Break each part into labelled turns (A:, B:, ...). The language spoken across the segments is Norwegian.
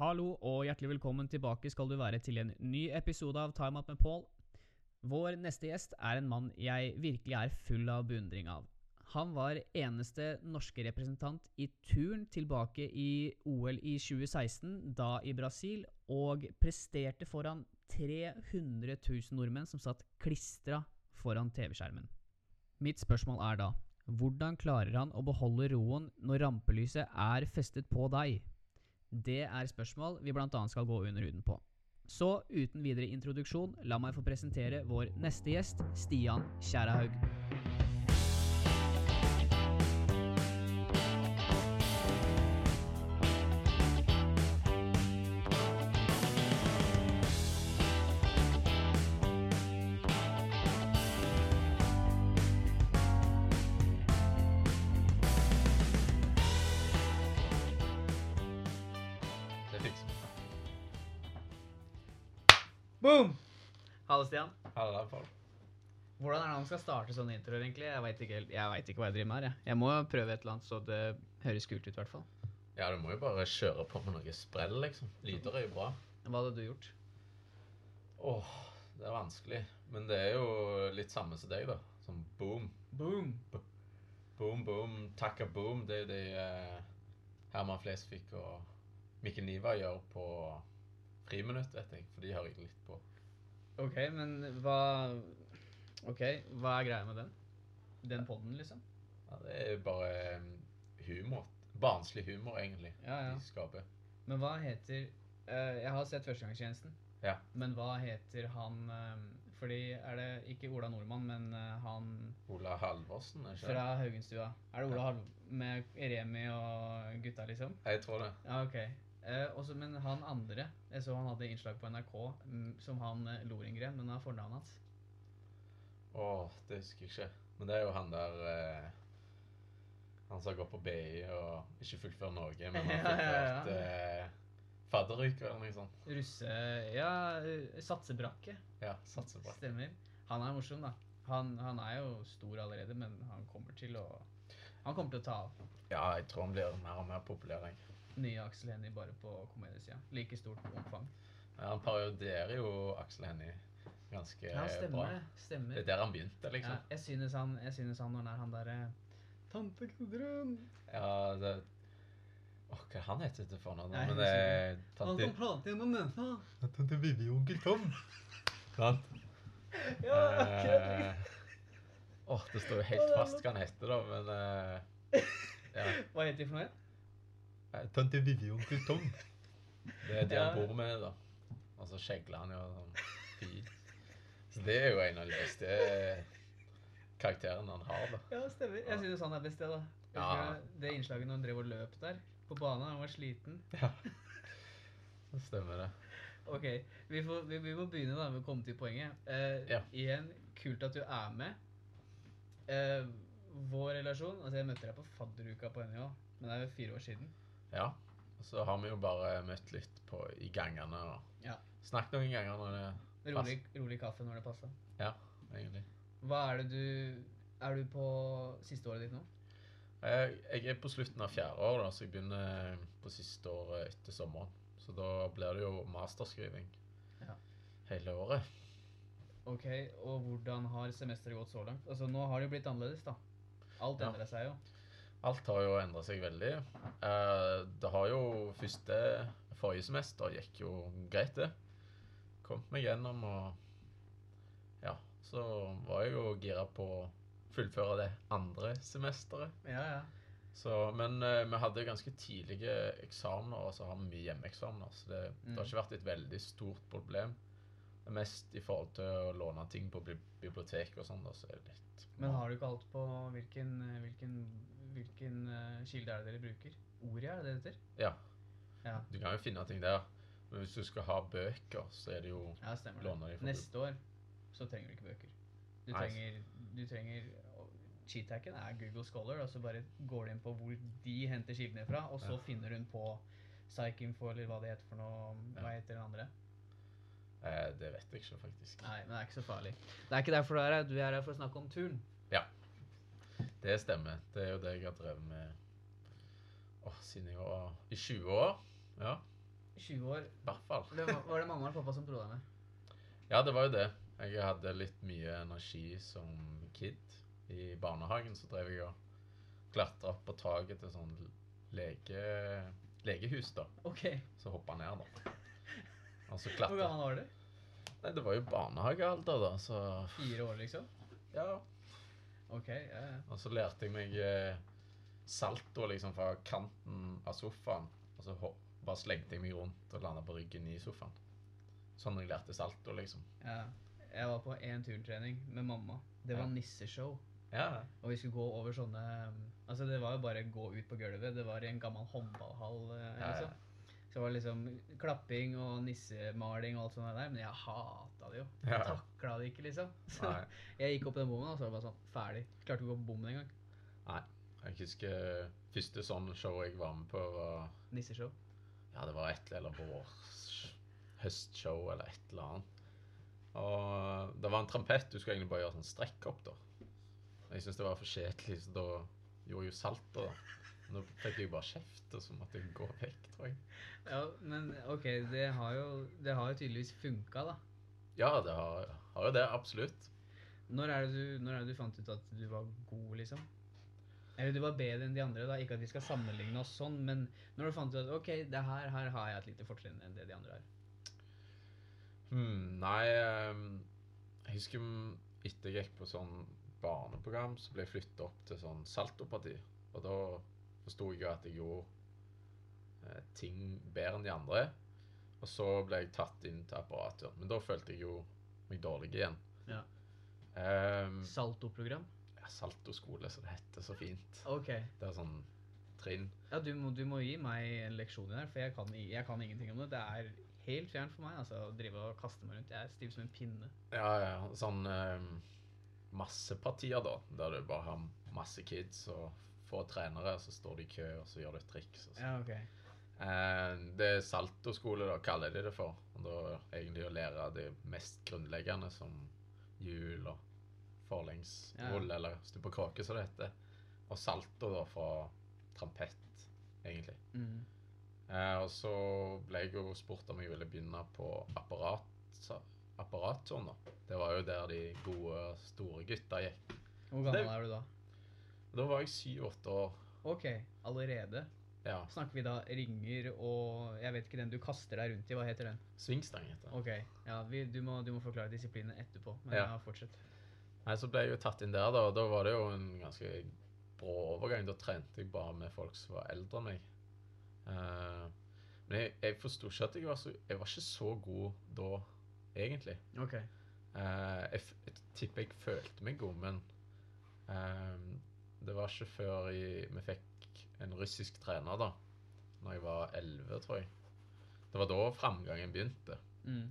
A: Hallo og hjertelig velkommen tilbake skal du være til en ny episode av Time Up med Paul. Vår neste gjest er en mann jeg virkelig er full av beundring av. Han var eneste norske representant i turn tilbake i OL i 2016, da i Brasil, og presterte foran 300 000 nordmenn som satt klistra foran TV-skjermen. Mitt spørsmål er da, hvordan klarer han å beholde roen når rampelyset er festet på deg? Det er spørsmål vi bl.a. skal gå under huden på. Så uten videre introduksjon, la meg få presentere vår neste gjest, Stian Kjærehaug.
B: Det er fint.
A: Boom! Hallo, Stian.
B: Her er det Paul.
A: Hvordan er det man skal starte sånne introer, egentlig? Jeg veit ikke, helt- jeg vet ikke hva jeg driver med her. Jeg. jeg må prøve et eller annet så det høres kult ut, i hvert fall.
B: Ja, du må jo bare kjøre på med noe sprell, liksom. Lyder er jo bra.
A: Hva hadde du gjort?
B: Åh, det er vanskelig. Men det er jo litt samme som deg, da. Sånn boom,
A: Boom!
B: boom, boom, takka boom. Det er jo det eh, Herman Flesvig og Mikkel Niva gjør på friminutt, vet jeg. For de hører jeg litt på.
A: Ok, men hva Ok, hva er greia med den? Den poden, liksom?
B: Ja, det er jo bare eh, humor. Barnslig humor, egentlig.
A: Ja, ja.
B: De skaper.
A: Men hva heter eh, Jeg har sett Førstegangstjenesten.
B: Ja.
A: Men hva heter han eh, Fordi er det ikke Ola Nordmann, men eh, han
B: Ola Halvorsen, er ikke det?
A: fra Haugenstua. Er det Ola
B: Ja.
A: Halv... med Remi og gutta, liksom?
B: Jeg tror det.
A: Ja, OK. Eh, også, men han andre Jeg så han hadde innslag på NRK mm, som han eh, Lorengren, men av fornavnet hans.
B: Åh, det husker jeg ikke. Men det er jo han der eh, Han som går på BI og ikke fullfører Norge, men
A: Ja,
B: har
A: ja, ja.
B: fullført eh, fadderuka eller noe sånt.
A: Russe... Ja, eh, Satsebrakke.
B: Ja, satser bra.
A: Stemmer. Han er morsom, da. Han, han er jo stor allerede, men han kommer til å Han kommer til å ta av.
B: Ja, jeg tror han blir mer og mer populær. Jeg.
A: nye Aksel Hennie bare på komediesida. Like stort omfang.
B: Ja, han parodierer jo Aksel Hennie ganske
A: Ja,
B: bra.
A: stemmer det. Stemmer.
B: Det er der han begynte,
A: ja,
B: liksom.
A: jeg, synes han, jeg synes han når han er han derre Tante Gudrun!
B: Ja, det Åh, hva han heter det for noe?
A: Nei, jeg
B: Men det er
A: Han
B: tante,
A: kan prate gjennom nesa!
B: tante Vivi og onkel Tom. Sant?
A: Ja, akkurat.
B: Eh, Åh, det står jo
A: Å,
B: helt
A: det er
B: fast hva han heter, da, men eh, ja.
A: Hva heter de for noe? igjen?
B: Eh, Tante Vivi og onkel Tom. Det er de han
A: Ja.
B: bor med, da. Og så skjegler han jo sånn fint. Så det er jo en av de beste karakterene han har, da.
A: Ja, stemmer. Jeg synes han er best, jeg, da. Jeg
B: Ja.
A: husker Det innslaget når han drev og løp der, på banen, han var sliten.
B: Ja. Det stemmer, det.
A: Ok, vi, får, vi, vi må begynne da med å komme til poenget. Eh,
B: Ja.
A: Igjen, kult at du er med. Eh, vår relasjon Altså, jeg møtte deg på fadderuka på NIH, men det er jo fire år siden.
B: Ja. Og så har vi jo bare møtt litt på, i gangene og
A: Ja.
B: snakket noen ganger når det
A: Rolig, rolig kaffe når det passer.
B: Ja, egentlig.
A: Hva er det du Er du på siste året ditt nå?
B: Jeg, jeg er på slutten av fjerde år, da, så jeg begynner eh, på siste året etter sommeren. Så da blir det jo masterskriving
A: Ja.
B: hele året.
A: Ok, Og hvordan har semesteret gått så langt? Altså, Nå har det jo blitt annerledes, da. Alt
B: Ja.
A: endrer seg jo.
B: Alt har jo endra seg veldig. Eh, Det har jo første Forrige semester gikk jo greit, det. Kom meg gjennom og Ja, så var jeg jo gira på å fullføre det andre semesteret.
A: Ja, ja.
B: Så, men eh, vi hadde ganske tidlige eksamener, og så har vi mye hjemmeeksamener. Så det, det har
A: Mm.
B: ikke vært et veldig stort problem. Det er mest i forhold til å låne ting på bi- biblioteket og sånn. da, så er det litt...
A: Men har du ikke alt på hvilken, hvilken, hvilken eh, kilde er det dere bruker? Ordet er det det heter?
B: Ja.
A: Ja.
B: Du kan jo finne ting der. Men hvis du skal ha bøker, så er det jo
A: Ja, stemmer
B: Låner de
A: det.
B: for-
A: Neste år så trenger du ikke bøker. Du
B: Nei, s-
A: trenger, du trenger Cheathacken er Google Scholar, og så bare går du inn på hvor de henter kildene fra, og så
B: Ja.
A: finner hun på Psykinfo eller hva det heter for noe.
B: Ja.
A: Hva heter den andre?
B: eh, Det vet jeg ikke, faktisk.
A: Nei, men det er ikke så farlig. Det er ikke derfor du er her. Du er her for å snakke om turn.
B: Det stemmer. Det er jo det jeg har drevet med Åh, siden jeg var i 20 år. Ja.
A: 20 år.
B: I hvert fall.
A: Det var, var det mamma og pappa som prøvde deg med?
B: Ja, det var jo det. Jeg hadde litt mye energi som kid. I barnehagen så drev jeg og klatra opp på taket til sånn lege, legehus, da.
A: Ok.
B: Så hoppa ned, da. Og så
A: Hvor
B: klatra
A: gammel var du?
B: Nei, det var jo barnehagealder, da, så
A: Fire år, liksom?
B: Ja.
A: Ok, ja, ja.
B: Og så lærte jeg meg eh, salto liksom fra kanten av sofaen. Og så ho- bare slengte jeg meg rundt og landa på ryggen i sofaen. Sånn jeg lærte salto, liksom.
A: ja. Jeg var på en turntrening med mamma. Det var
B: Ja.
A: nisseshow.
B: Ja,
A: Og vi skulle gå over sånne Altså, det var jo bare gå ut på gulvet. Det var i en gammel håndballhall. eh,
B: Ja, ja.
A: Liksom. Så det var liksom klapping og nissemaling og alt sånt der. Men jeg hata det jo. Jeg
B: Ja.
A: takla det ikke, liksom. Så
B: Nei.
A: jeg gikk opp den bommen, og så var det bare sånn ferdig. Klarte ikke å gå på bommen engang.
B: Jeg husker første sånn show jeg var med på, var
A: Nisseshow.
B: Ja, det var et eller annet vår høstshow eller et eller annet. Og eh, det var en trampett. Du skulle egentlig bare gjøre sånn strekk opp, da. Men Jeg syntes det var for kjedelig, så da gjorde jeg jo salto, da. Men da fikk jeg bare kjeft, og så måtte jeg gå vekk, tror jeg.
A: Ja, men OK, det har jo, det har jo tydeligvis funka, da.
B: Ja, det har, har jo det, absolutt.
A: Når er, det du, når er det du fant ut at du var god, liksom? Eller du var bedre enn de andre, da. Ikke at vi skal sammenligne oss sånn, men når du fant ut at OK, det her, her har jeg et lite fortrinn enn det de andre har.
B: Hmm, nei ehm, Jeg husker mm, etter jeg gikk på sånn barneprogram, så ble jeg flytta opp til sånn saltoparti. Og da forsto jeg jo at jeg gjorde eh, ting bedre enn de andre. Og så ble jeg tatt inn til apparatet. Men da følte jeg jo meg dårlig igjen.
A: Ja.
B: Ehm,
A: Saltoprogram?
B: ja, saltoskole, som det heter så fint.
A: OK.
B: Det er sånn trinn.
A: Ja, du må, du må gi meg en leksjon i det her, for jeg kan, i- jeg kan ingenting om det. Det er helt fjernt for meg altså, å drive og kaste meg rundt. Jeg er stiv som en pinne.
B: Ja, ja. Sånn ehm, masse partier, da. Der du bare har masse kids og få trenere, så står de i kø, og så gjør du et triks. Og så.
A: Ja, OK.
B: Eh, det er saltoskole, da, kaller de det for. Og da egentlig å lære det mest grunnleggende, som hjul og
A: Ja.
B: forlengsrull, eller stup og kråke, som det heter. Og salto, da, fra trampett, egentlig.
A: Mm.
B: Eh, og så ble jeg jo spurt om jeg ville begynne på apparat, apparatturen. da. Det var jo der de gode, store gutta gikk.
A: Hvor
B: Så det-
A: gammel er du da?
B: Da var jeg syv-åtte år.
A: OK, allerede.
B: Ja,
A: Snakker vi da ringer og Jeg vet ikke den du kaster deg rundt i, hva heter den?
B: Svingstang heter det.
A: Ok, ja, vi, du, må, du må forklare disiplinen etterpå, men ja.
B: Ja.
A: fortsett.
B: Nei, Så ble jeg jo tatt inn der, da. og Da var det jo en ganske brå overgang. Da trente jeg bare med folk som var eldre enn meg. Eh, men jeg, jeg forsto ikke at jeg var så Jeg var ikke så god da, egentlig.
A: Ok.
B: Eh, jeg, f- jeg tipper jeg følte meg god, men eh, det var ikke før jeg, vi fikk en russisk trener, da. Når jeg var 11, tror jeg. Det var da framgangen begynte.
A: Mm.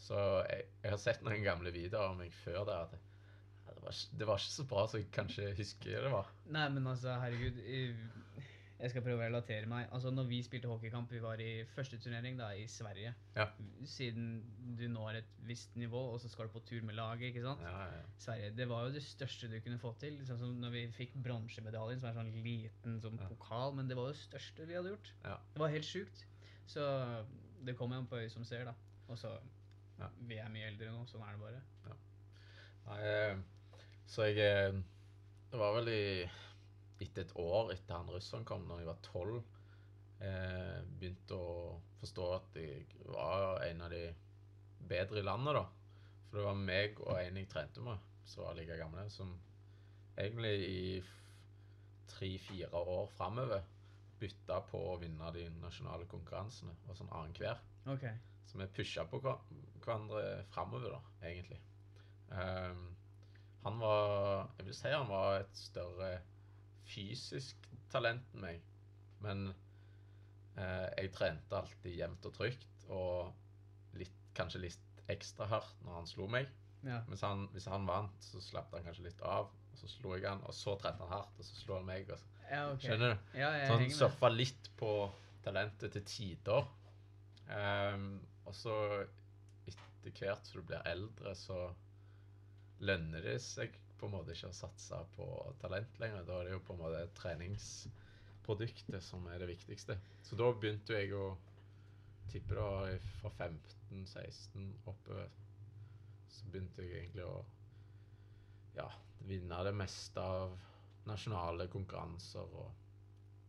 B: Så jeg, jeg har sett noen gamle videoer om meg før der at ja, det, var ikke, det var ikke så bra som jeg kanskje husker det var.
A: Nei, men altså, herregud, i- jeg skal prøve å relatere meg. Altså, når vi spilte hockeykamp, vi var i første turnering da, i Sverige.
B: Ja.
A: Siden du når et visst nivå, og så skal du på tur med laget, ikke sant?
B: Ja, ja.
A: Sverige, det var jo det største du kunne få til. Sånn som når vi fikk bronsemedaljen, som er sånn liten sånn
B: Ja.
A: pokal, men det var jo det største vi hadde gjort.
B: Ja.
A: Det var helt sjukt. Så det kommer an på øyet som ser, da. Og så
B: Ja.
A: Vi er mye eldre nå, sånn er det bare.
B: Nei, eh, så jeg eh, Det var vel i etter et år etter han russeren kom, når jeg var tolv, eh, begynte å forstå at jeg var en av de bedre i landet, da. For det var meg og en jeg trente med, som var like gamle, som egentlig i tre-fire år framover bytta på å vinne de nasjonale konkurransene, og sånn annenhver.
A: Ok.
B: Så vi pusha på hver- hverandre framover, da, egentlig. Ehm, han var Jeg vil si han var et større fysisk talent enn meg. Men eh, jeg trente alltid jevnt og trygt, og litt, kanskje litt ekstra hardt når han slo meg.
A: Ja.
B: Mens han, hvis han vant, så slapp han kanskje litt av. Og så slo jeg han, og så trente han hardt, og så slo han meg. Og så.
A: Ja, ok.
B: Skjønner du?
A: Ja, jeg
B: Så han
A: henger med.
B: surfa litt på talentet til tider. Ehm, og så etter hvert som du blir eldre, så lønner det seg på en måte ikke å satse på talent lenger. Da er det jo på en måte treningsproduktet som er det viktigste. Så da begynte jo jeg å tipper det var i- fra 15-16 oppover, så begynte jeg egentlig å ja, vinne det meste av nasjonale konkurranser og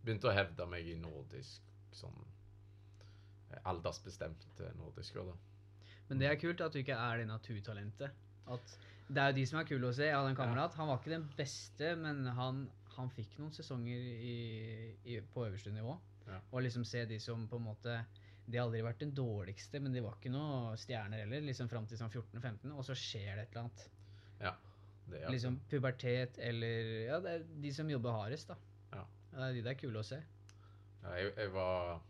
B: begynte å hevde meg i nordisk sånn eh, aldersbestemte nordisker. da.
A: Men det er kult at du ikke er det naturtalentet. At det er jo de som er kule å se. Jeg hadde en kamerat. Han var ikke den beste, men han, han fikk noen sesonger i, i, på øverste nivå.
B: Ja.
A: Og liksom se de som på en måte De har aldri vært den dårligste, men de var ikke noe stjerner heller. Liksom fram til sånn 14-15, og så skjer det et eller annet.
B: Ja, det er
A: Liksom pubertet eller Ja, det er de som jobber hardest, da.
B: Ja.
A: Det er de der kule å se.
B: Ja, jeg, jeg var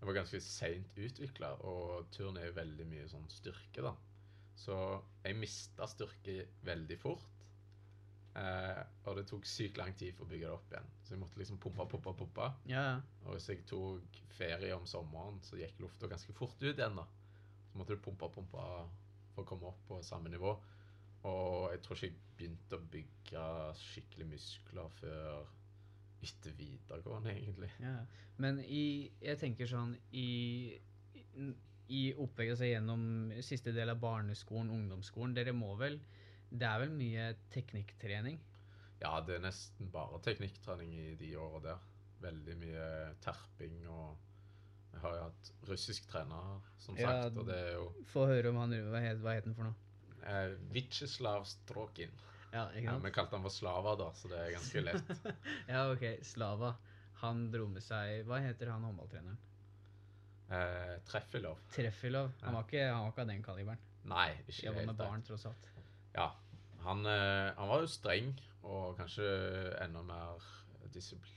B: Jeg var ganske seint utvikla, og turn er jo veldig mye sånn styrke, da. Så jeg mista styrke veldig fort. Eh, og det tok sykt lang tid for å bygge det opp igjen. Så jeg måtte liksom pumpe, pumpe, pumpe.
A: Ja, ja.
B: Og hvis jeg tok ferie om sommeren, så gikk lufta ganske fort ut igjen, da. Så måtte du pumpe, pumpe for å komme opp på samme nivå. Og jeg tror ikke jeg begynte å bygge skikkelig muskler før etter videregående, egentlig.
A: Ja, ja. men i, jeg tenker sånn i, i, i oppvekst altså gjennom siste del av barneskolen, ungdomsskolen, dere må vel Det er vel mye teknikktrening?
B: Ja, det er nesten bare teknikktrening i de åra der. Veldig mye terping og Jeg har jo hatt russisk trener, som
A: Ja,
B: sagt, og det er jo
A: Få høre om han Hva het hva het han for noe?
B: eh, Vitsjeslav Strokin.
A: Ja, ikke
B: Ja,
A: sant?
B: vi kalte han for Slava, da, så det er ganske lett.
A: Ja, OK. Slava. Han dro med seg Hva heter han håndballtreneren?
B: Eh, Treffilov.
A: Treffilov.
B: Ja.
A: Han var ikke, han var ikke av den kaliberen.
B: Nei, ikke
A: Jobba
B: helt
A: med
B: rett.
A: barn, tross alt.
B: Ja. Han, eh, han var jo streng, og kanskje enda mer disipl-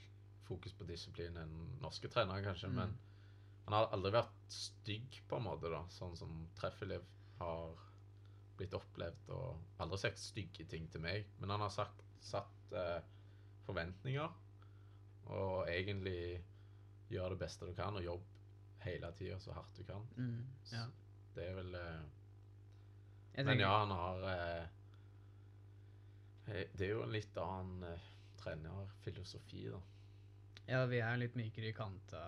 B: fokus på disiplin enn norske trenere, kanskje.
A: Mm.
B: Men han har aldri vært stygg, på en måte, da, sånn som Treffelev har blitt opplevd. Og aldri sagt stygge ting til meg, men han har sagt, satt eh, forventninger. Og egentlig gjør det beste du kan, og jobb hele tida så hardt du kan.
A: Mm, ja.
B: Det er vel eh,
A: Jeg
B: men
A: tenker-
B: ja, han har eh, eh, Det er jo en litt annen eh, trenerfilosofi, da.
A: ja, vi er litt mykere i kanta.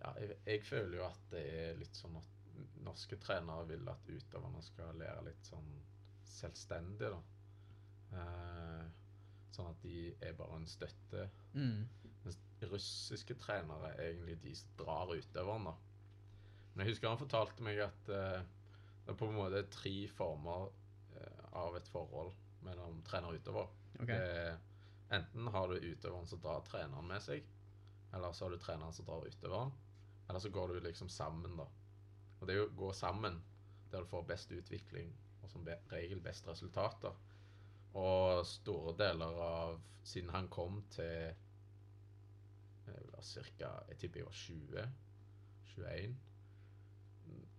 B: Ja, jeg, jeg føler jo at det er litt sånn at n- norske trenere vil at utøverne skal lære litt sånn selvstendig, da. Eh, sånn at de er bare en støtte.
A: Mm.
B: Mens russiske trenere er egentlig de som drar utøveren, da. Men jeg husker han fortalte meg at eh, det er på en måte tre former eh, av et forhold mellom trener og utøver.
A: OK.
B: Det, enten har du utøveren som drar treneren med seg, eller så har du treneren som drar utøveren. Eller så går du liksom sammen, da. Og det er jo å gå sammen der du får best utvikling og som be regel best resultater. Og store deler av Siden han kom til eh, ca. Jeg tipper jeg var 20. 21.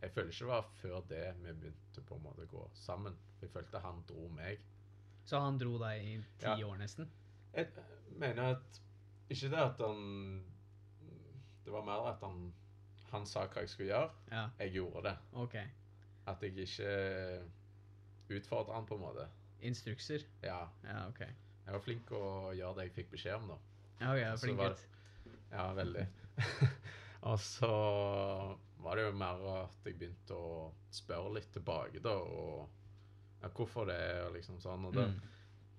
B: Jeg føler ikke det var før det vi begynte på en måte å gå sammen. Jeg følte han dro meg.
A: Så han dro deg i ti
B: Ja.
A: år, nesten?
B: Jeg mener at Ikke det at han Det var mer at han Han sa hva jeg skulle gjøre.
A: Ja.
B: Jeg gjorde det.
A: OK.
B: At jeg ikke utfordra han, på en måte.
A: Instrukser?
B: Ja.
A: Ja, ok.
B: Jeg var flink å gjøre det jeg fikk beskjed om, da.
A: Ja, ok, jeg er
B: Så
A: flink
B: var-
A: gutt.
B: Ja, veldig. og så var det jo mer at jeg begynte å spørre litt tilbake, da, og ja, hvorfor det er og liksom sånn. Og det,
A: Mm.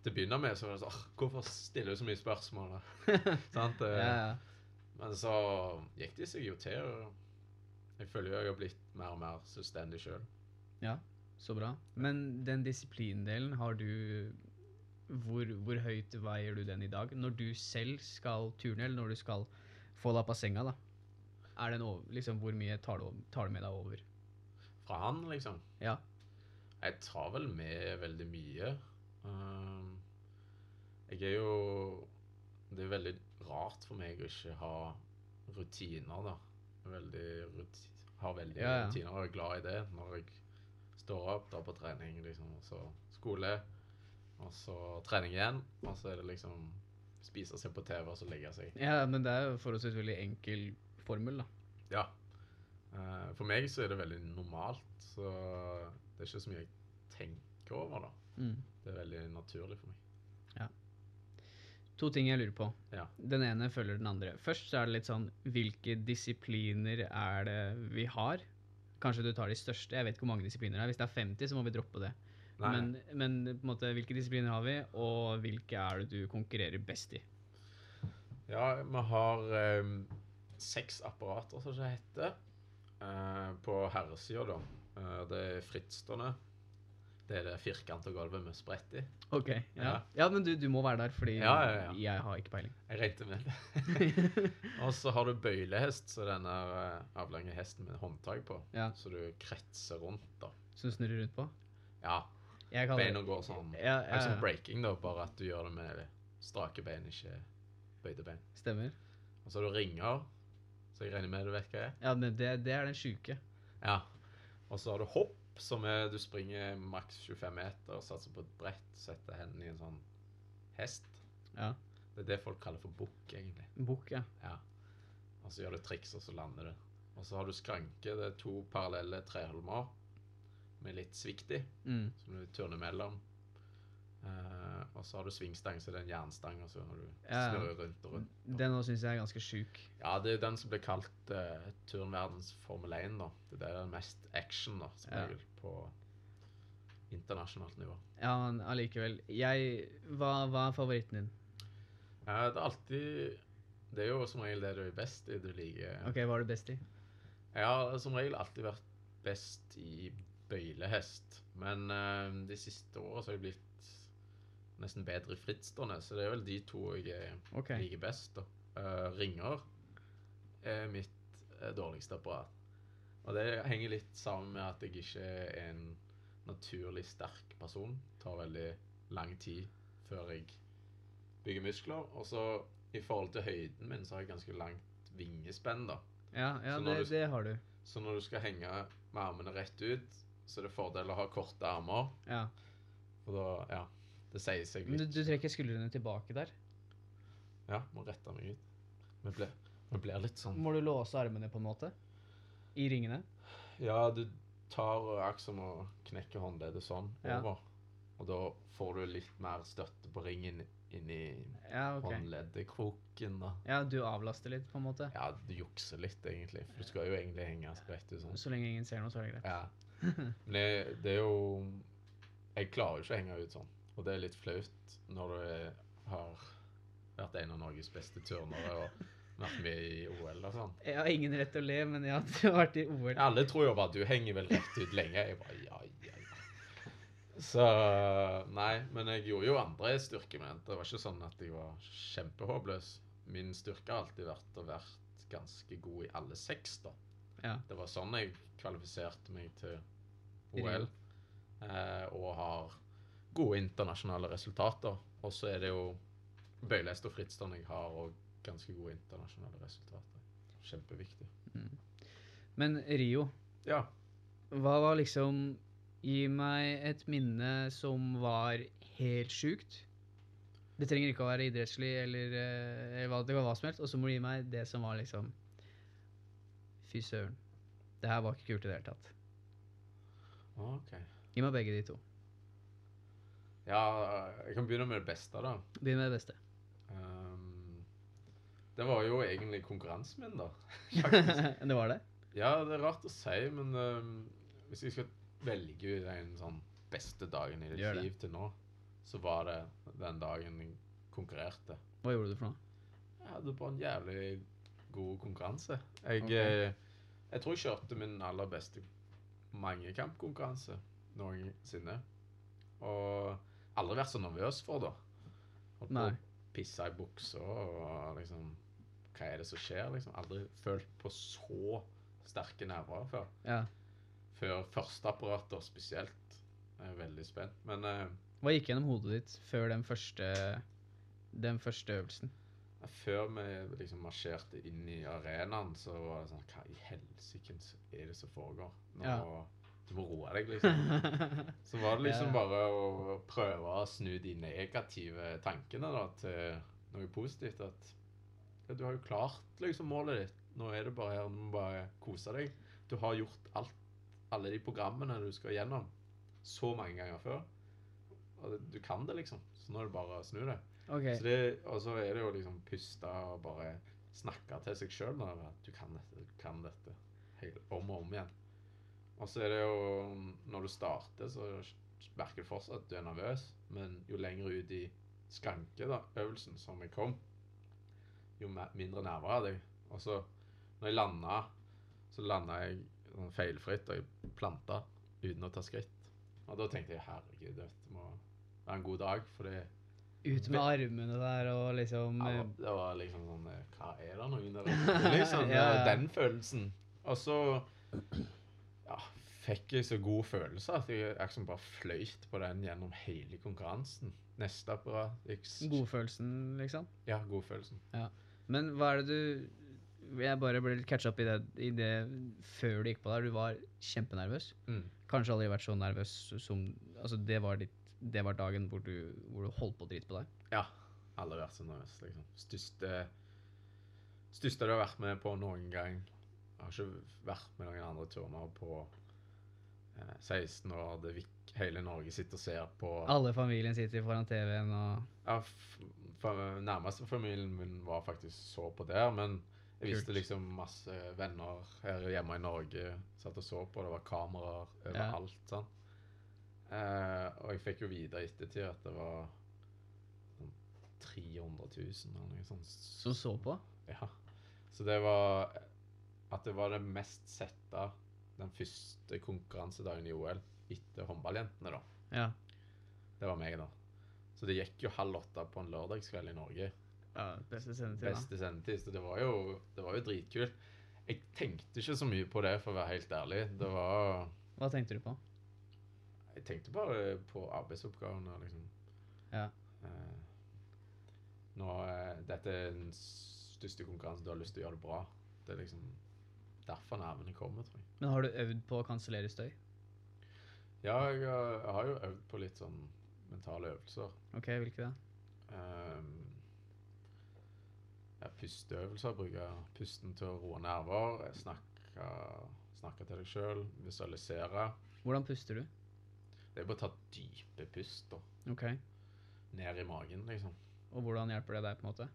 B: til å begynne med så var det sånn «Åh, Hvorfor stiller du så mye spørsmål? da?» Sant?
A: Ja,
B: Eh,
A: ja.
B: Men så gikk de seg jo til. og Jeg føler jo jeg har blitt mer og mer selvstendig sjøl.
A: så bra. Men den disiplindelen, har du hvor, hvor høyt veier du den i dag? Når du selv skal turne, eller når du skal få deg opp av senga, da? Er den over, liksom, hvor mye tar du, tar du med deg over?
B: Fra han, liksom.
A: Ja.
B: Jeg tar vel med veldig mye. Ehm, Jeg er jo Det er veldig rart for meg å ikke ha rutiner, da. Jeg er Veldig ruti, har veldig
A: Ja, ja.
B: rutiner og er glad i det når jeg står opp, drar på trening, liksom, og så skole, og så trening igjen, og så er det liksom spise seg på TV og så legge seg.
A: Ja, men det er jo forholdsvis veldig enkel formel, da.
B: Ja. Eh, For meg så er det veldig normalt, så det er ikke så mye jeg tenker over, da.
A: Mm.
B: Det er veldig naturlig for meg.
A: To ting jeg lurer på.
B: Ja.
A: Den ene følger den andre. Først så er det litt sånn Hvilke disipliner er det vi har? Kanskje du tar de største? Jeg vet ikke hvor mange disipliner det er. Hvis det er 50, så må vi droppe det.
B: Nei,
A: Men, men på en måte, hvilke disipliner har vi, og hvilke er det du konkurrerer best i?
B: Ja, vi har eh, seks apparater, som det heter, eh, på herresida, da. Eh, det er fritstående. Det er det firkanta gulvet med sprett i.
A: Ok, ja.
B: Ja.
A: ja men du, du må være der, fordi
B: Ja, ja, ja.
A: jeg har ikke peiling.
B: Jeg regnet med det. Og så har du bøylehest, så denne eh, avlange hesten med håndtak på.
A: Ja.
B: Så du kretser rundt, da.
A: Som snurrer rundt på?
B: Ja,
A: Jeg kaller
B: beina går sånn.
A: det ja,
B: Det
A: ja,
B: er som
A: ja.
B: breaking, da, bare at du gjør det med strake bein, ikke bøyde bein.
A: Stemmer.
B: Og så har du ringer, så jeg regner med du vet hva det er.
A: Ja, men det, det er den sjuke.
B: Ja. Og så har du hopp, som er du springer maks 25 meter, satser på et brett, setter hendene i en sånn hest.
A: Ja.
B: Det er det folk kaller for bukk, egentlig.
A: Bukk, ja.
B: Ja. Og så gjør du triks, og så lander du. Og så har du skranke, det er to parallelle treholmer med litt svikt i,
A: Mm.
B: som du turner mellom. Eh, og så har du svingstang, så det er en jernstang, og så har du
A: Ja.
B: snurrer rundt og rundt.
A: Den nå syns jeg er ganske sjuk.
B: Ja, det er den som blir kalt eh, turnverdens Formel 1, da. Det er den mest action, da, som
A: Ja.
B: regel, på internasjonalt nivå.
A: Ja, men allikevel. Jeg hva, hva er favoritten din?
B: Eh, det er alltid Det er jo som regel det du er best i, du liker
A: Ok, Hva er du best i?
B: Jeg har som regel alltid vært best i bøylehest, men eh, de siste åra så har jeg blitt nesten bedre i frittstående, så det er vel de to jeg
A: Ok.
B: liker best, da. Eh, ringer er mitt eh, dårligste apparat. Og det henger litt sammen med at jeg ikke er en naturlig sterk person. Det tar veldig lang tid før jeg bygger muskler. Og så i forhold til høyden min, så har jeg ganske langt vingespenn, da.
A: Ja, ja
B: Så når
A: det,
B: du-
A: det har du.
B: Så når du skal henge med armene rett ut, så er det fordel å ha korte armer.
A: Ja.
B: Og da, ja, det sier seg
A: Men du,
B: litt.
A: du trekker skuldrene tilbake der.
B: Ja, må rette meg ut. Vi blir, vi blir litt sånn
A: Må du låse armene på en måte? I ringene?
B: Ja, du tar aksen og knekker håndleddet sånn
A: Ja.
B: over. Og da får du litt mer støtte på ringen inni
A: Ja, ok.
B: håndleddekroken, da.
A: Ja, du avlaster litt, på en måte.
B: Ja, du jukser litt, egentlig. For du skal jo egentlig henge rett ut sånn.
A: Så lenge ingen ser noe, så er det greit.
B: Ja. Men det, det er jo Jeg klarer jo ikke å henge ut sånn. Og det er litt flaut når du er- har vært en av Norges beste turnere og vært med i OL og sånn.
A: Jeg har ingen rett til å le, men jeg har vært i OL.
B: Alle tror jo bare at du henger vel rett ut lenge. Jeg bare, ja, ja, ja. Så Nei, men jeg gjorde jo andre styrkemomenter. Det var ikke sånn at jeg var kjempehåpløs. Min styrke har alltid vært å vært ganske god i alle seks, da.
A: Ja.
B: Det var sånn jeg kvalifiserte meg til
A: Rio.
B: OL. Eh, og har gode internasjonale resultater. Og så er det jo bøylest og frittstående jeg har, og ganske gode internasjonale resultater. Kjempeviktig.
A: Mm. Men Rio,
B: Ja.
A: hva var liksom Gi meg et minne som var helt sjukt. Det trenger ikke å være idrettslig eller, eh, eller hva, det kan være hva som helst. Og så må du gi meg det som var liksom Fy søren. Det her var ikke kult i det hele tatt.
B: Ah, OK.
A: Gi meg begge de to.
B: Ja, jeg kan begynne med det beste, da.
A: Begynn med det beste.
B: Ehm, det var jo egentlig konkurransen min, da.
A: det var det?
B: Ja, det er rart å si, men ehm, hvis jeg skal velge ut en sånn beste dagen i ditt
A: Gjør det.
B: liv til nå, så var det den dagen jeg konkurrerte.
A: Hva gjorde du for noe?
B: Jeg hadde bare en jævlig god konkurranse. Jeg,
A: Ok.
B: eh, jeg tror jeg kjørte min aller beste mangekampkonkurranse noensinne. Og aldri vært så nervøs for det. Holdt på
A: Nei.
B: å pisse i buksa og liksom Hva er det som skjer? liksom? Aldri følt på så sterke nerver før.
A: Ja.
B: Før førsteapparatet spesielt. Jeg er veldig spent. Men eh,
A: Hva gikk gjennom hodet ditt før den første, den første øvelsen?
B: Før vi liksom marsjerte inn i arenaen, så var det sånn Hva i helsike er det som foregår? Nå, Du må roe deg, liksom. Så var det liksom
A: Ja.
B: bare å prøve å snu de negative tankene da, til noe positivt. At ja, du har jo klart liksom målet ditt. Nå er det bare her, du må bare kose deg. Du har gjort alt, alle de programmene du skal gjennom, så mange ganger før. Og du kan det, liksom. Så nå er det bare å snu det.
A: Ok.
B: Så det, og så er det jo liksom puste og bare snakke til seg sjøl når det er at du kan dette, du kan dette hele, om og om igjen. Og så er det jo Når du starter, så merker du fortsatt at du er nervøs, men jo lenger ut i skranke da, øvelsen som jeg kom, jo me- mindre nerver hadde jeg. Og så, når jeg landa, så landa jeg sånn feilfritt, og jeg planta uten å ta skritt. Og da tenkte jeg herregud, dette må være en god dag, for det
A: Ut med armene der og liksom
B: ja,
A: eh,
B: det var liksom sånn eh, Hva er det noen der ute? Liksom, det var
A: Ja.
B: Den følelsen. Og så ja, fikk jeg så god følelse at jeg liksom bare fløyt på den gjennom hele konkurransen. Neste apparat gikk s-
A: godfølelsen, liksom.
B: Ja, godfølelsen.
A: Men hva er det du Jeg bare ble litt catcha opp i det, i det før du gikk på der. Du var kjempenervøs.
B: Mm.
A: Kanskje aldri vært så nervøs som Altså, det var, ditt, det var dagen hvor du, hvor du holdt på å drite på deg.
B: Ja. Aldri vært så nervøs, liksom. Største Største du har vært med på noen gang. Jeg har ikke vært med noen andre turner på eh, 16 år. Det vik, hele Norge sitter og ser på.
A: Alle familien sitter foran TV-en og
B: Ja, f fa- nærmeste familien min var faktisk så på der, men jeg visste
A: Kult.
B: liksom masse venner her hjemme i Norge satt og så på, det var kameraer overalt, sånn. Eh, og jeg fikk jo videre i ettertid at det var sånn 300 000 eller noe sånt.
A: Som så på.
B: Ja. Så det var at det var det mest sette den første konkurransedagen i OL etter håndballjentene, da.
A: Ja.
B: Det var meg, da. Så det gikk jo halv åtte på en lørdagskveld i Norge.
A: ja beste sendetid,
B: Beste sendetid. Så det var jo, det var jo dritkult. Jeg tenkte ikke så mye på det, for å være helt ærlig. Det var
A: da. Hva tenkte du på?
B: Jeg tenkte bare på arbeidsoppgavene, liksom.
A: Ja.
B: Eh, Nå, eh, dette er den største konkurransen. Du har lyst til å gjøre det bra. Det er liksom derfor nervene kommer, tror jeg.
A: Men har du øvd på å kansellere støy?
B: Ja, jeg, har- jeg har jo øvd på litt sånn mentale øvelser.
A: OK, hvilke det?
B: Ehm, ja, pusteøvelser, bruke pusten til å roe nerver, snakke, snakke til deg sjøl, visualisere.
A: Hvordan puster du?
B: Det er bare å ta dype pust da,
A: OK.
B: ned i magen, liksom.
A: Og hvordan hjelper det deg, på en måte?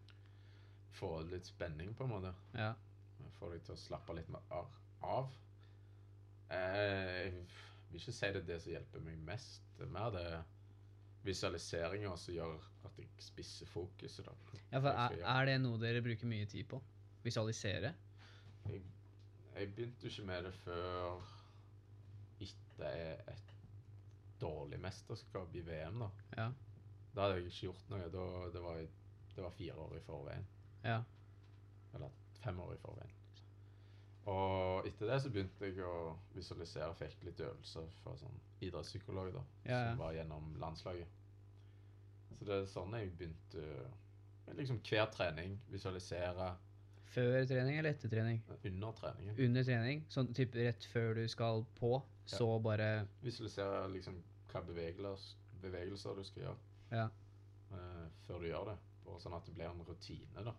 B: Få litt spenning, på en måte.
A: Ja.
B: Få deg til å slappe litt mer ar- av. Eh, Jeg vil ikke si det er det som hjelper meg mest. Det er mer det visualiseringa som gjør at jeg spisser fokuset. da.
A: Ja, for er,
B: Jeg sier ja.
A: er det noe dere bruker mye tid på? Visualisere?
B: Jeg begynte jo ikke med det før etter et dårlig mesterskap i VM, da.
A: Ja.
B: Da hadde jeg ikke gjort noe. Da, det, var, det var fire år i forveien.
A: Ja.
B: Eller fem år i forveien. Og etter det så begynte jeg å visualisere og fikk litt øvelser fra sånn idrettspsykolog, da.
A: Ja, ja.
B: Som var gjennom landslaget. Så det er sånn jeg begynte med liksom hver trening. Visualisere
A: Før trening eller etter trening?
B: under treningen.
A: Under trening, sånn typ rett før du skal på, så bare
B: visualisere liksom hva bevegelser, bevegelser du skal gjøre
A: Ja.
B: eh, før du gjør det. Bare sånn at det blir en rutine, da.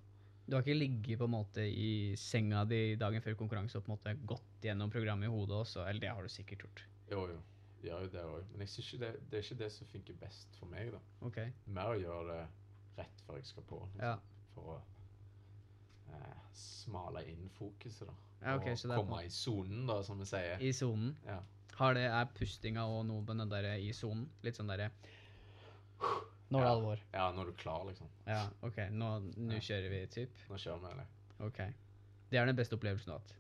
A: Du har ikke ligget på en måte i senga di dagen før konkurranse og på en måte gått gjennom programmet i hodet også? Eller det har du sikkert gjort.
B: Jo, jo. Gjør jo det òg. Men jeg synes ikke det, det er ikke det som funker best for meg, da.
A: Ok.
B: Mer å gjøre det rett før jeg skal på. Liksom,
A: Ja.
B: For å eh, smale inn fokuset, da.
A: Ja, ok,
B: og
A: så det er på-
B: komme i sonen, da, som vi sier.
A: I sonen.
B: Ja.
A: Har det, er pustinga og noe med den derre i sonen? Litt sånn derre Nå er det
B: Ja.
A: alvor.
B: ja, når du er klar, liksom.
A: Ja, OK. Nå, nå
B: Ja.
A: kjører vi, typ.
B: Nå kjører vi, eller?
A: OK. Det er den beste opplevelsen du har hatt.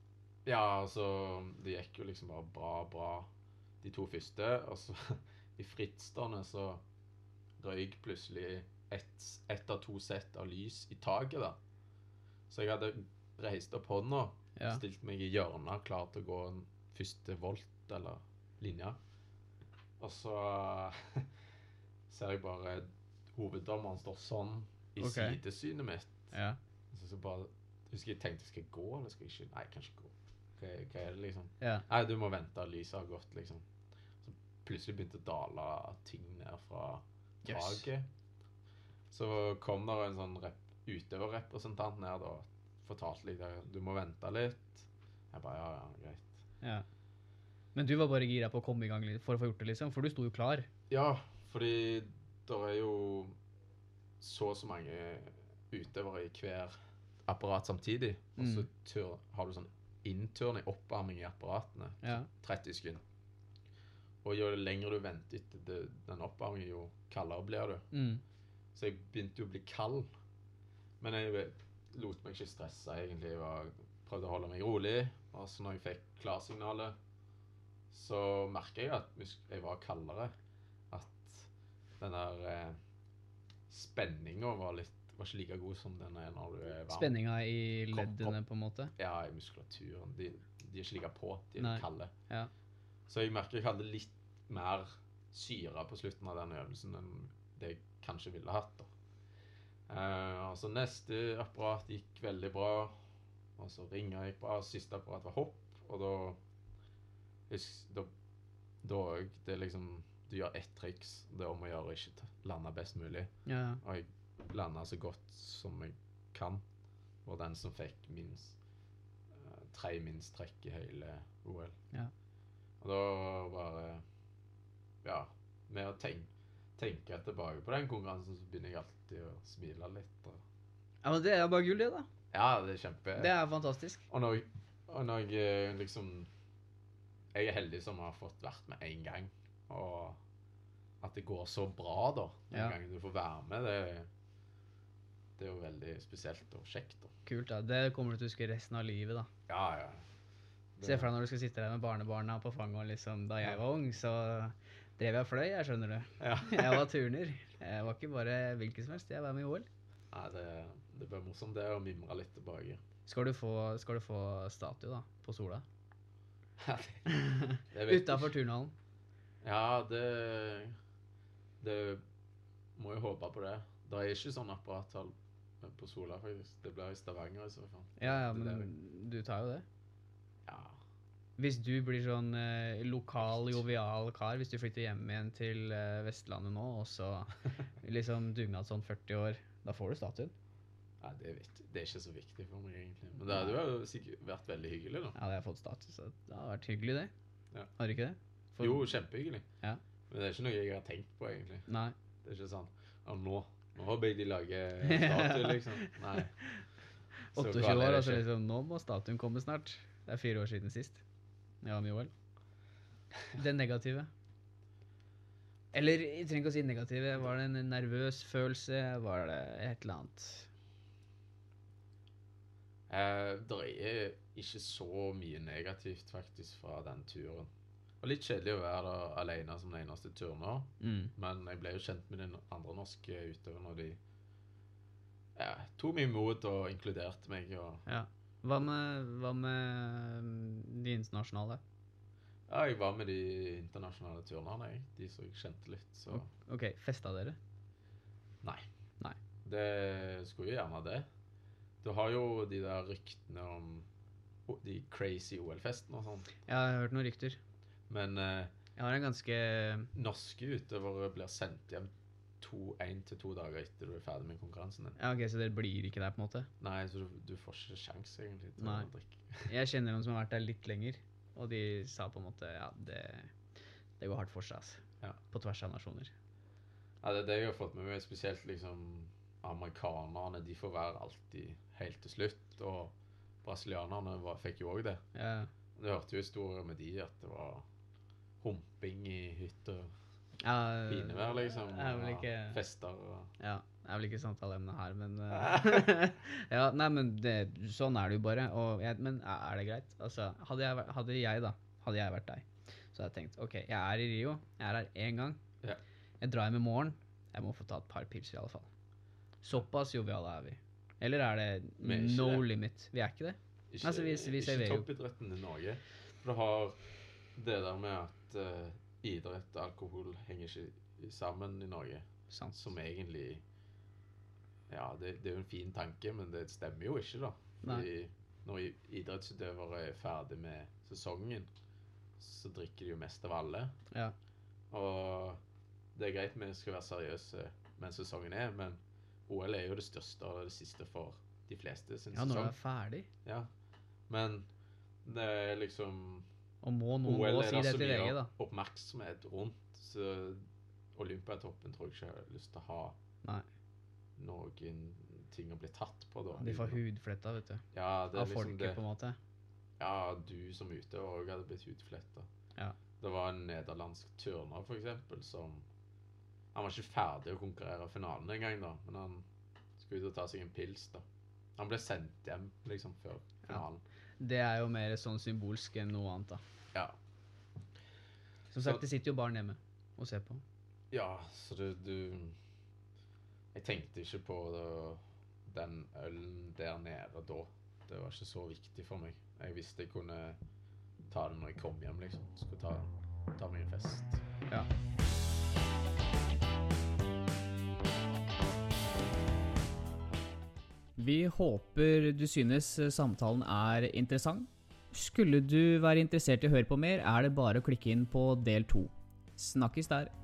B: Ja, altså Det gikk jo liksom bare bra, bra de to første. Og så i frittstående så røyk plutselig ett et av to sett av lys i taket, da. Så jeg hadde reist opp hånda,
A: Ja.
B: stilt meg i hjørnet, klar til å gå en første volt eller linje. Og så ser jeg bare hoveddommeren står sånn i
A: Ok.
B: sidesynet mitt.
A: ja.
B: Så, så bare Husker jeg tenkte skal jeg gå, eller skal jeg ikke? Nei, jeg kan ikke gå. Hva, hva er det, liksom?
A: ja.
B: Nei, du må vente. Lyset har gått, liksom. Så plutselig begynte å dale ting ned fra
A: Jøss.
B: taket. Så kom der en sånn rep utøverrepresentant ned og fortalte litt. Du må vente litt. Jeg bare ja, ja, greit.
A: Ja. Men du var bare gira på å komme i gang litt for å få gjort det, liksom? For du sto jo klar.
B: Ja, fordi der er jo så og så mange utøvere i hver apparat samtidig. Og så tur, har du sånn innturning, oppvarming i apparatene.
A: Ja.
B: 30 sekunder. Og jo lenger du venter etter det- den oppvarmingen, jo kaldere blir du.
A: Mm.
B: Så jeg begynte jo å bli kald. Men jeg lot meg ikke stresse, egentlig. Jeg var, prøvde å holde meg rolig. Og så når jeg fikk klarsignalet, så merket jeg at musk- jeg var kaldere. At den der eh, spenninga var litt var ikke like god som den er når du er varm.
A: Spenninga i
B: Kom, kom.
A: leddene, på en måte.
B: Ja, i muskulaturen. De, de er ikke like på. De er
A: Nei.
B: kalde.
A: Ja.
B: Så jeg merker jeg hadde litt mer syre på slutten av den øvelsen enn det jeg kanskje ville hatt. da. Eh, og så neste apparat gikk veldig bra, og så ringer gikk bra. Siste apparat var hopp, og da hus- Da, da òg Det er liksom Du gjør ett triks. Det er om å gjøre å ikke ta- lande best mulig.
A: Ja.
B: Og jeg landa så godt som jeg kan. Og den som fikk minst eh, tre minst trekk i hele OL.
A: Ja.
B: Og da bare Ja, med å tenke, tenke tilbake på den konkurransen, så begynner jeg alltid å smile litt. Og,
A: ja, men det er bare gull, det, da.
B: ja, det er kjempe
A: Det er fantastisk.
B: Og når, og når jeg eh, liksom Jeg er heldig som har fått vært med én gang, og at det går så bra, da. Den
A: Ja.
B: gangen du får være med, det, det er jo veldig spesielt og kjekt. da.
A: Kult, da. Det kommer du til å huske resten av livet, da.
B: Ja, ja.
A: Se for deg når du skal sitte der med barnebarna på fanget og liksom Da jeg var ung, så drev jeg og fløy, jeg skjønner du.
B: Ja.
A: Jeg var turner. Jeg var ikke bare hvilken som helst, jeg var med i OL.
B: Nei, det, det blir morsomt det å mimre litt tilbake.
A: Skal du få, skal du få statue, da, på Sola?
B: Jeg vet
A: Utafor
B: ikke.
A: turnhallen.
B: Ja, det Det må jo håpe på det. Det er ikke sånn apparathall på Sola, faktisk. Det blir i Stavanger i så fall.
A: Ja, ja,
B: Det
A: men du tar jo det.
B: der- Ja.
A: Hvis du blir sånn eh, lokal, jovial kar, hvis du flytter hjem igjen til eh, Vestlandet nå, og så liksom dugnad sånn 40 år, da får du statuen.
B: Nei, det, er viktig. det er ikke så viktig for meg, egentlig. Men det hadde jo sikkert vært veldig hyggelig, da.
A: Ja, det har jeg fått statue, så det har vært hyggelig, det.
B: Ja.
A: Har du ikke det? For-
B: Jo, kjempehyggelig.
A: Ja.
B: Men det er ikke noe jeg har tenkt på, egentlig.
A: Nei.
B: Det er ikke sånn Ja, nå Nå håper jeg de lager en statue, liksom. Nei. Så
A: 28
B: gal er
A: år,
B: jeg
A: altså
B: ikke.
A: liksom, nå må statuen komme snart. Det er fire år siden sist. Ja, med OL. Det negative. Eller, jeg trenger ikke å si negative. Var det en nervøs følelse? Var det et eller annet?
B: Eh, det er ikke så mye negativt faktisk fra den turen. Og litt kjedelig å være der alene som den eneste turner,
A: Mm.
B: men jeg ble jo kjent med de no- andre norske utøverne, og de ja, tok meg imot og inkluderte meg. Og,
A: Ja. Hva med, hva med mm, de internasjonale?
B: ja, jeg var med de internasjonale turnerne, jeg. De som jeg kjente litt, så
A: Ok, festa dere?
B: Nei.
A: Nei.
B: Det skulle jo gjerne det. Du har jo de der ryktene om o- de crazy OL-festene og sånn,
A: Jeg har hørt noen rykter.
B: men eh,
A: Jeg har en ganske
B: norske utøvere blir sendt hjem to, en til to dager etter du er ferdig med konkurransen din.
A: Ja, ok, Så dere blir ikke der, på en måte?
B: Nei, så du, du får ikke sjans egentlig til
A: Nei.
B: å drikke.
A: Jeg kjenner noen som har vært der litt lenger, og de sa på en måte ja, det, det går hardt for seg, altså.
B: Ja.
A: På tvers av nasjoner.
B: Ja, det er det jeg har fått med meg, spesielt liksom amerikanerne, de får være alltid helt til slutt, og brasilianerne var, fikk jo også det.
A: Ja.
B: Du hørte jo historier med de at det var humping i hytter,
A: Ja,
B: pinevær liksom,
A: Det er vel Eh,
B: og
A: ikke-
B: fester og...
A: ja, det er vel ikke samtaleemnet her, men eh, Ja, nei, men det, sånn er det jo bare. Og jeg, men er er det greit? Altså, hadde jeg, vært- hadde jeg da, hadde jeg vært deg, så hadde jeg tenkt OK, jeg er i Rio, jeg er her én gang.
B: Ja.
A: Jeg drar hjem i morgen, jeg må få ta et par pils i alle fall. Såpass joviale er vi. Eller er
B: Vi er
A: det
B: ikke
A: no
B: det.
A: limit? Vi er ikke det?
B: Ikke,
A: Altså, vi- vi
B: ikke
A: serverer jo.
B: toppidretten i Norge. For du har det der med at eh, idrett og alkohol henger ikke i- sammen i Norge.
A: Sant.
B: Som egentlig Ja, det, det er jo en fin tanke, men det stemmer jo ikke, da. Fordi når i- idrettsutøvere er ferdig med sesongen, så drikker de jo mest av alle.
A: Ja.
B: Og det er greit vi skal være seriøse mens sesongen er, men OL er jo det største og det siste for de fleste sin
A: Ja, når du
B: sesong.
A: er ferdig.
B: Ja, men det er liksom
A: Og må noen
B: OL
A: gå og
B: er
A: si
B: det
A: det
B: så
A: til VG,
B: mye
A: da.
B: oppmerksomhet rundt, så Olympiatoppen tror jeg ikke jeg har lyst til å ha
A: Nei.
B: noen ting å bli tatt på, da.
A: De får hudfletta, vet du.
B: Ja,
A: Av
B: det er liksom
A: folket,
B: det.
A: på en måte.
B: Ja, du som utøver òg hadde blitt hudfletta.
A: Ja.
B: Det var en nederlandsk turner, for eksempel, som Han var ikke ferdig å konkurrere i finalen engang, da, men han skulle ut og ta seg en pils, da. Han ble sendt hjem, liksom, før finalen.
A: Det er jo mer sånn symbolsk enn noe annet, da.
B: Ja.
A: Som
B: Så-
A: sagt, det sitter jo barn hjemme og ser på.
B: Ja, så du, du Jeg tenkte ikke på det, den ølen der nede da. Det var ikke så viktig for meg. Jeg visste jeg kunne ta det når jeg kom hjem, liksom. Skulle ta, ta meg en fest.
A: Ja. Vi håper du synes eh, samtalen er interessant. Skulle du være interessert i å høre på mer, er det bare å klikke inn på del to. Snakkes der.